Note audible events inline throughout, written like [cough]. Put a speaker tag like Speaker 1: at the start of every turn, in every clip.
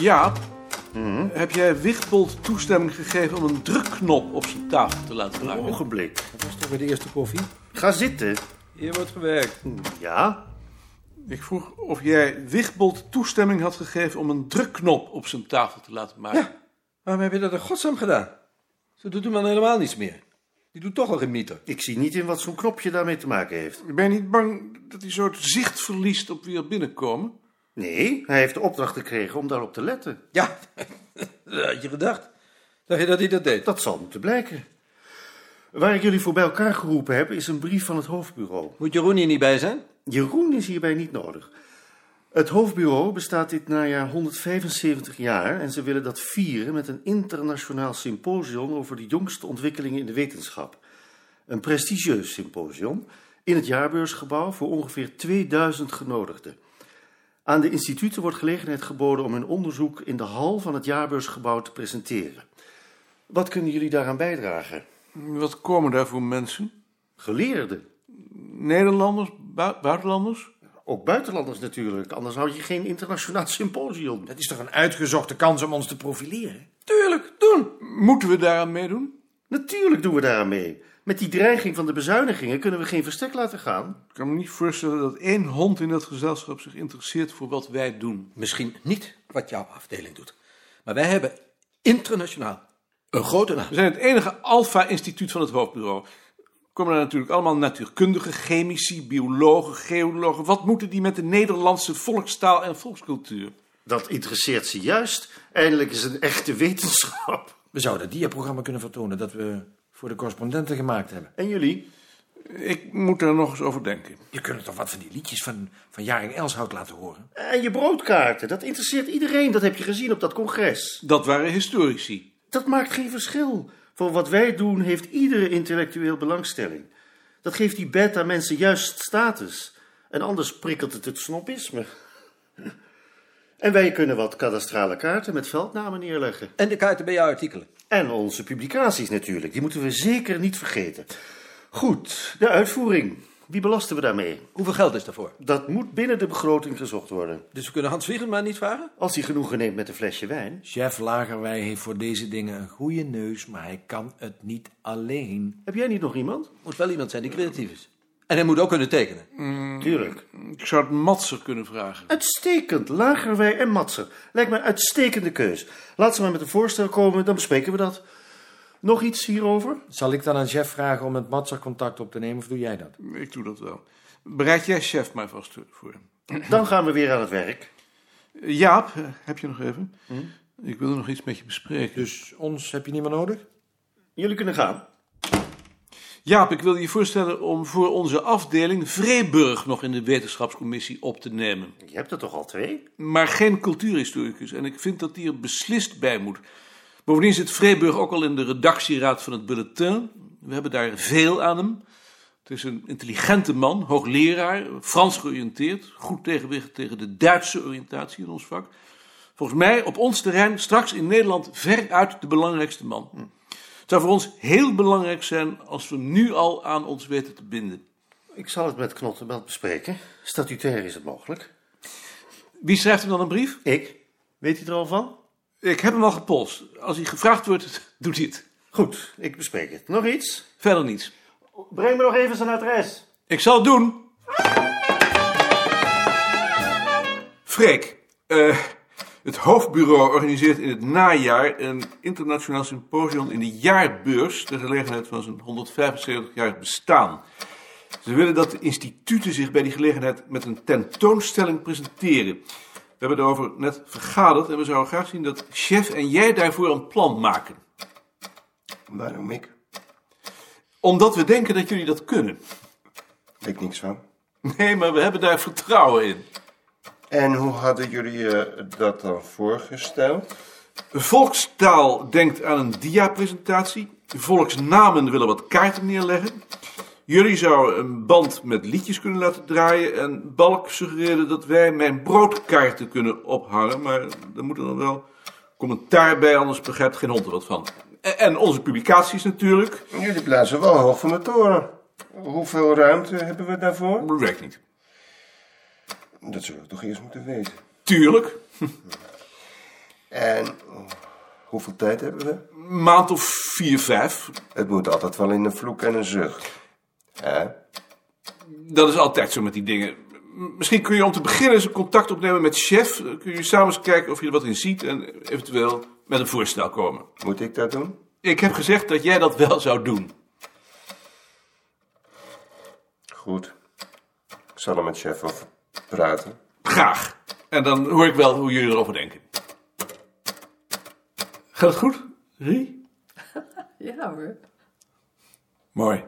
Speaker 1: Jaap, heb jij Wichtbold toestemming gegeven om een drukknop op zijn tafel te laten
Speaker 2: Een
Speaker 1: plakken?
Speaker 2: ogenblik.
Speaker 3: Dat is toch weer de eerste koffie?
Speaker 2: Ga zitten.
Speaker 4: Hier wordt gewerkt.
Speaker 2: Ja?
Speaker 1: Ik vroeg of jij Wichtbold toestemming had gegeven om een drukknop op zijn tafel te laten maken.
Speaker 4: Ja. Waarom heb je dat in godsnaam gedaan? Ze doet hem dan helemaal niets meer. Die doet toch al geen mieter.
Speaker 2: Ik zie niet in wat zo'n knopje daarmee te maken heeft.
Speaker 1: Ben je niet bang dat hij zo het zicht verliest op wie er binnenkomen?
Speaker 2: Nee, hij heeft de opdracht gekregen om daarop te letten.
Speaker 4: Ja, [laughs] dat had je gedacht. Dacht je dat hij dat deed?
Speaker 2: Dat zal moeten blijken. Waar ik jullie voor bij elkaar geroepen heb, is een brief van het hoofdbureau.
Speaker 4: Moet Jeroen hier niet bij zijn?
Speaker 2: Jeroen is hierbij niet nodig. Het hoofdbureau bestaat dit najaar 175 jaar en ze willen dat vieren met een internationaal symposium over de jongste ontwikkelingen in de wetenschap. Een prestigieus symposium in het jaarbeursgebouw voor ongeveer 2000 genodigden. Aan de instituten wordt gelegenheid geboden om hun onderzoek in de hal van het jaarbeursgebouw te presenteren. Wat kunnen jullie daaraan bijdragen?
Speaker 1: Wat komen daar voor mensen?
Speaker 2: Geleerden,
Speaker 1: Nederlanders? bui- buitenlanders?
Speaker 2: ook buitenlanders natuurlijk, anders houd je geen internationaal symposium.
Speaker 3: Dat is toch een uitgezochte kans om ons te profileren?
Speaker 4: Tuurlijk, doen.
Speaker 1: Moeten we daaraan meedoen?
Speaker 2: Natuurlijk doen we daaraan mee. Met die dreiging van de bezuinigingen kunnen we geen verstek laten gaan.
Speaker 1: Ik kan me niet voorstellen dat één hond in dat gezelschap zich interesseert voor wat wij doen.
Speaker 4: Misschien niet wat jouw afdeling doet. Maar wij hebben internationaal een grote naam.
Speaker 1: We zijn het enige alfa-instituut van het hoofdbureau. Komen er natuurlijk allemaal natuurkundigen, chemici, biologen, geologen. Wat moeten die met de Nederlandse volkstaal en volkscultuur?
Speaker 2: Dat interesseert ze juist. Eindelijk is een echte wetenschap.
Speaker 3: We zouden dat diaprogramma kunnen vertonen dat we voor de correspondenten gemaakt hebben.
Speaker 2: En jullie?
Speaker 1: Ik moet daar nog eens over denken.
Speaker 3: Je kunt toch wat van die liedjes van, van Jaring Elshout laten horen?
Speaker 2: En je broodkaarten. Dat interesseert iedereen. Dat heb je gezien op dat congres.
Speaker 1: Dat waren historici.
Speaker 2: Dat maakt geen verschil. Voor wat wij doen heeft iedere intellectueel belangstelling. Dat geeft die beta mensen juist status. En anders prikkelt het het snobisme. En wij kunnen wat kadastrale kaarten met veldnamen neerleggen.
Speaker 4: En de kaarten bij jouw artikelen.
Speaker 2: En onze publicaties natuurlijk, die moeten we zeker niet vergeten. Goed, de uitvoering. Wie belasten we daarmee?
Speaker 4: Hoeveel geld is daarvoor?
Speaker 2: Dat moet binnen de begroting gezocht worden.
Speaker 4: Dus we kunnen Hans Wiegel maar niet vragen?
Speaker 2: Als hij genoegen neemt met een flesje wijn.
Speaker 3: Chef Lagerwij heeft voor deze dingen een goede neus, maar hij kan het niet alleen.
Speaker 2: Heb jij niet nog iemand?
Speaker 4: Moet wel iemand zijn die creatief is. En hij moet ook kunnen tekenen.
Speaker 2: Tuurlijk.
Speaker 1: Ik zou het Matser kunnen vragen.
Speaker 2: Uitstekend. Lagerwij en Matser. Lijkt mij een uitstekende keus. Laat ze maar met een voorstel komen, dan bespreken we dat. Nog iets hierover?
Speaker 3: Zal ik dan aan chef vragen om met Matser contact op te nemen of doe jij dat?
Speaker 1: Ik doe dat wel. Bereid jij chef mij vast voor.
Speaker 2: Dan gaan we weer aan het werk.
Speaker 1: Jaap, eh, heb je nog even? Ik wilde nog iets met je bespreken.
Speaker 3: Dus ons heb je niet meer nodig?
Speaker 2: Jullie kunnen gaan.
Speaker 1: Jaap, ik wilde je voorstellen om voor onze afdeling Vreeburg nog in de wetenschapscommissie op te nemen.
Speaker 2: Je hebt er toch al twee?
Speaker 1: Maar geen cultuurhistoricus en ik vind dat die er beslist bij moet. Bovendien zit Vreeburg ook al in de redactieraad van het bulletin. We hebben daar veel aan hem. Het is een intelligente man, hoogleraar, Frans georiënteerd, goed tegenwicht tegen de Duitse oriëntatie in ons vak. Volgens mij op ons terrein straks in Nederland veruit de belangrijkste man. Het zou voor ons heel belangrijk zijn als we hem nu al aan ons weten te binden.
Speaker 2: Ik zal het met Knottenbelt bespreken. Statutair is het mogelijk.
Speaker 1: Wie schrijft hem dan een brief?
Speaker 2: Ik? Weet hij er al van?
Speaker 1: Ik heb hem al gepolst. Als hij gevraagd wordt, [laughs] doet hij het.
Speaker 2: Goed, ik bespreek het. Nog iets?
Speaker 1: Verder niets.
Speaker 2: Breng me nog even zijn adres.
Speaker 1: Ik zal het doen. Freek, eh, het hoofdbureau organiseert in het najaar een internationaal symposium in de jaarbeurs. ter gelegenheid van zijn 175-jarig bestaan. Ze willen dat de instituten zich bij die gelegenheid met een tentoonstelling presenteren. We hebben daarover net vergaderd en we zouden graag zien dat chef en jij daarvoor een plan maken.
Speaker 5: Waarom ik?
Speaker 1: Omdat we denken dat jullie dat kunnen.
Speaker 5: Weet ik niks van.
Speaker 1: Nee, maar we hebben daar vertrouwen in.
Speaker 5: En hoe hadden jullie eh, dat dan voorgesteld?
Speaker 1: Volkstaal denkt aan een diapresentatie. Volksnamen willen wat kaarten neerleggen. Jullie zouden een band met liedjes kunnen laten draaien. En Balk suggereerde dat wij mijn broodkaarten kunnen ophangen. Maar daar moet er dan wel commentaar bij, anders begrijpt geen hond er wat van. E- En onze publicaties natuurlijk.
Speaker 5: Jullie blazen wel hoog van de toren. Hoeveel ruimte hebben we daarvoor?
Speaker 1: Dat werkt niet.
Speaker 5: Dat zullen we toch eerst moeten weten.
Speaker 1: Tuurlijk.
Speaker 5: En eh, hoeveel tijd hebben we?
Speaker 1: Maand of vier, vijf.
Speaker 5: Het moet altijd wel in een vloek en een zucht. Hè?
Speaker 1: Dat is altijd zo met die dingen. M- Misschien kun je om te beginnen eens contact opnemen met chef. Dan kun je samen eens kijken of je er wat in ziet en eventueel met een voorstel komen.
Speaker 5: Moet ik dat doen?
Speaker 1: Ik heb gezegd dat jij dat wel zou doen.
Speaker 5: Goed. Ik zal er met chef over praten.
Speaker 1: Graag. En dan hoor ik wel hoe jullie erover denken. Gaat het goed, Rie?
Speaker 6: Ja hoor.
Speaker 1: Mooi.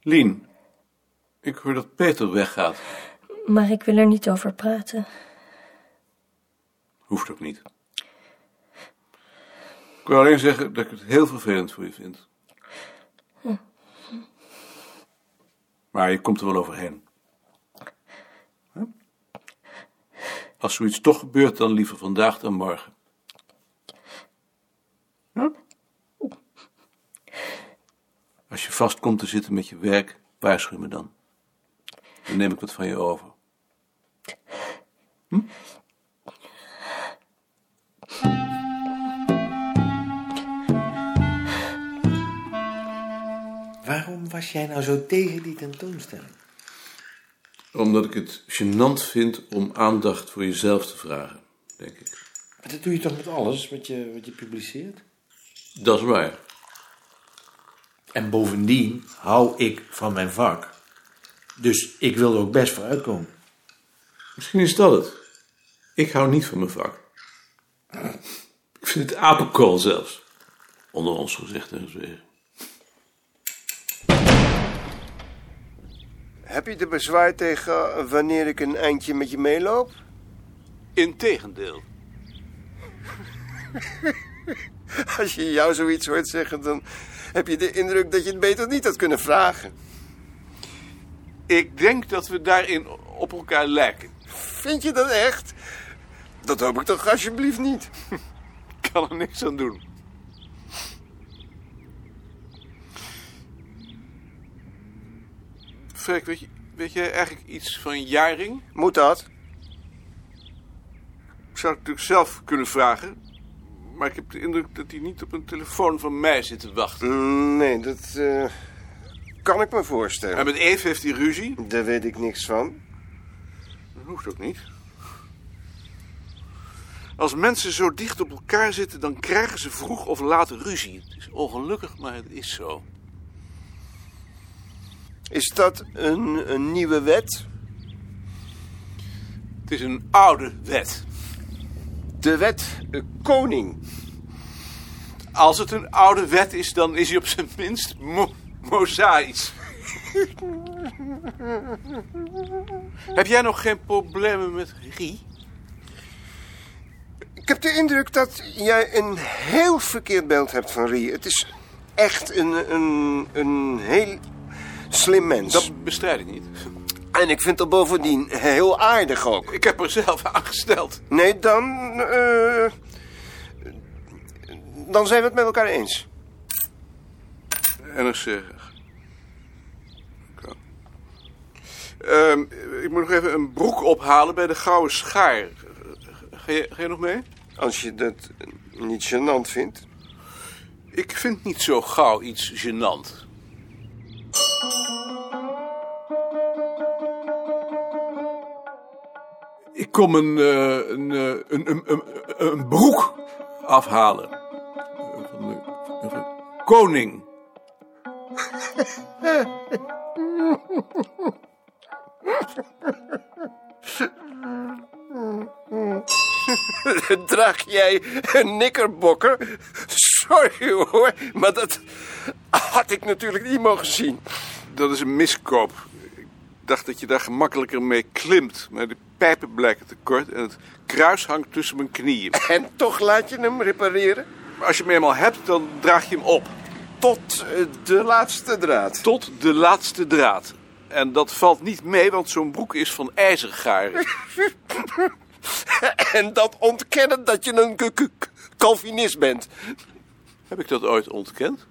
Speaker 1: Lien, ik hoor dat Peter weggaat.
Speaker 7: Maar ik wil er niet over praten.
Speaker 1: Hoeft ook niet. Ik wil alleen zeggen dat ik het heel vervelend voor je vind. Maar je komt er wel overheen. Hè? Als zoiets toch gebeurt, dan liever vandaag dan morgen. Hè? Als je vast komt te zitten met je werk, waarschuw me dan. Dan neem ik wat van je over.
Speaker 3: Waarom was jij nou zo tegen die tentoonstelling?
Speaker 1: Omdat ik het gênant vind om aandacht voor jezelf te vragen, denk ik.
Speaker 3: Maar dat doe je toch met alles wat je, wat je publiceert?
Speaker 1: Dat is waar.
Speaker 3: En bovendien hou ik van mijn vak. Dus ik wil er ook best voor uitkomen.
Speaker 1: Misschien is dat het. Ik hou niet van mijn vak. Ik vind het apenkool zelfs. Onder ons gezegd en gezwegen.
Speaker 5: Heb je er bezwaar tegen wanneer ik een eindje met je meeloop? [laughs]
Speaker 1: Integendeel.
Speaker 5: Als je jou zoiets hoort zeggen, dan heb je de indruk dat je het beter niet had kunnen vragen.
Speaker 1: Ik denk dat we daarin op elkaar lijken.
Speaker 5: Vind je dat echt? Dat hoop ik toch alsjeblieft niet.
Speaker 1: Ik kan er niks aan doen. Freek, weet, je, weet jij eigenlijk iets van jaring?
Speaker 5: Moet dat?
Speaker 1: Ik zou het natuurlijk zelf kunnen vragen. Maar ik heb de indruk dat hij niet op een telefoon van mij zit te wachten.
Speaker 5: Mm, Nee, dat eh, kan ik me voorstellen.
Speaker 1: En met Eve heeft hij ruzie.
Speaker 5: Daar weet ik niks van.
Speaker 1: Dat hoeft ook niet. Als mensen zo dicht op elkaar zitten, dan krijgen ze vroeg of laat ruzie. Het is ongelukkig, maar het is zo.
Speaker 5: Is dat een, een nieuwe wet?
Speaker 1: Het is een oude wet.
Speaker 5: De wet eh, koning.
Speaker 1: Als het een oude wet is, dan is hij op zijn minst mo- mozaïsch. heb jij nog geen problemen met Rie?
Speaker 5: Ik heb de indruk dat jij een heel verkeerd beeld hebt van Rie. Het is echt een, een, een heel slim mens.
Speaker 1: Dat bestrijd ik niet.
Speaker 5: En ik vind dat bovendien heel aardig ook.
Speaker 1: Ik heb er zelf aangesteld.
Speaker 5: Nee, dan. eh, dan zijn we het met elkaar eens.
Speaker 1: NRC. Oké. Ehm, ik moet nog even een broek ophalen bij de Gouden Schaar. Ga je, ga je nog mee?
Speaker 5: Als je dat niet gênant vindt.
Speaker 1: Ik vind niet zo gauw iets gênant. Ik kom een, eh, een, eh, een, een, een, een broek afhalen. Eh, Van de, van de koning.
Speaker 5: [laughs] Draag jij een nikkerbokker? Sorry hoor, maar dat had ik natuurlijk niet mogen zien.
Speaker 1: Dat is een miskoop. Ik dacht dat je daar gemakkelijker mee klimt. Maar de pijpen blijken te kort en het kruis hangt tussen mijn knieën.
Speaker 5: En toch laat je hem repareren?
Speaker 1: Maar Als je hem eenmaal hebt, dan draag je hem op.
Speaker 5: Tot eh, de laatste draad.
Speaker 1: Tot de laatste draad. En dat valt niet mee, want zo'n broek is van ijzergaren.
Speaker 5: En dat ontkennen dat je een k- k- Calvinist bent.
Speaker 1: Heb ik dat ooit ontkend?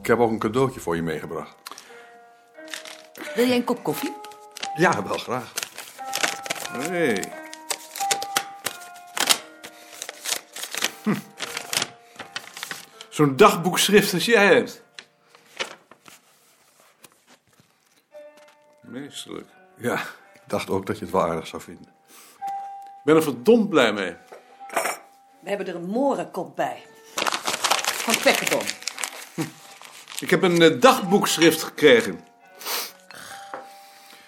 Speaker 8: Ik heb ook een cadeautje voor je meegebracht.
Speaker 9: Wil jij een kop koffie?
Speaker 8: Ja, wel graag. Hé. Hm.
Speaker 1: Zo'n dagboekschrift als jij hebt. Meesterlijk.
Speaker 8: Ja, ik dacht ook dat je het wel aardig zou vinden.
Speaker 1: Ik ben er verdomd blij mee.
Speaker 9: We hebben er een morenkop bij. Van Pekkenboom.
Speaker 1: Ik heb een eh, dagboekschrift gekregen.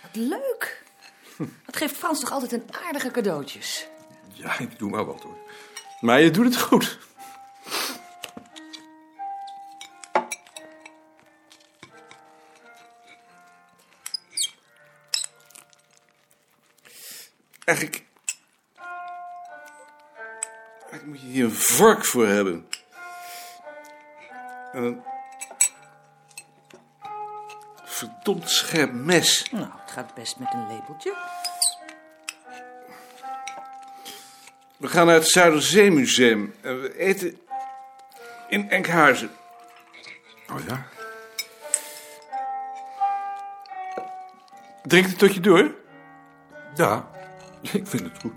Speaker 9: Wat leuk. Dat geeft Frans toch altijd een aardige cadeautjes.
Speaker 8: Ja, ik doe maar wat hoor.
Speaker 1: Maar je doet het goed. Eigenlijk... Eigenlijk moet je hier een vark voor hebben. En een... Verdomd scherp mes.
Speaker 9: Nou, het gaat best met een labeltje.
Speaker 1: We gaan naar het Zuiderzeemuseum. En we eten in Enkhuizen.
Speaker 8: Oh ja?
Speaker 1: Drink het tot je door.
Speaker 8: Ja, ik vind het goed.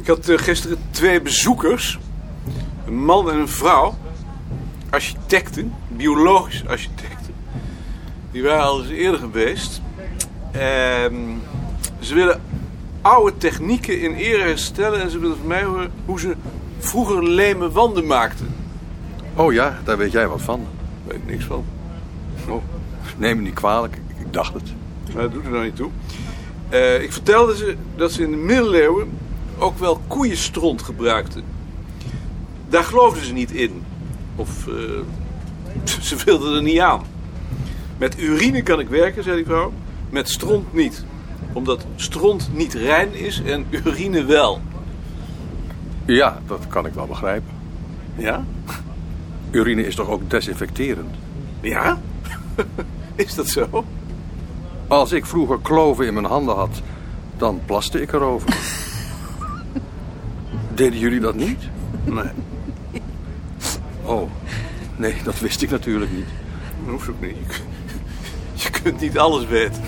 Speaker 1: Ik had eh, gisteren twee bezoekers. Een man en een vrouw. Architecten, biologisch architecten. Die waren al eens eerder geweest. Ehm, ze willen oude technieken in ere herstellen. En ze willen van mij horen hoe ze vroeger leme wanden maakten.
Speaker 8: Oh ja, daar weet jij wat van.
Speaker 1: Daar weet ik niks van.
Speaker 8: Oh, neem me niet kwalijk, ik, ik dacht het.
Speaker 1: Maar dat doet er nou niet toe. Eh, ik vertelde ze dat ze in de middeleeuwen ook wel koeienstront gebruikten. Daar geloofden ze niet in. Of eh, [laughs] ze wilden er niet aan. Met urine kan ik werken, zei die vrouw. Met stront niet. Omdat stront niet rein is en urine wel.
Speaker 8: Ja, dat kan ik wel begrijpen.
Speaker 1: Ja?
Speaker 8: Urine is toch ook desinfecterend?
Speaker 1: Ja? is dat zo?
Speaker 8: Als ik vroeger kloven in mijn handen had, dan plaste
Speaker 1: [laughs]
Speaker 8: ik erover. Deden jullie dat niet?
Speaker 1: Nee,
Speaker 8: Oh, nee, dat wist ik natuurlijk niet.
Speaker 1: dat hoeft ook niet. Je kunt niet alles weten.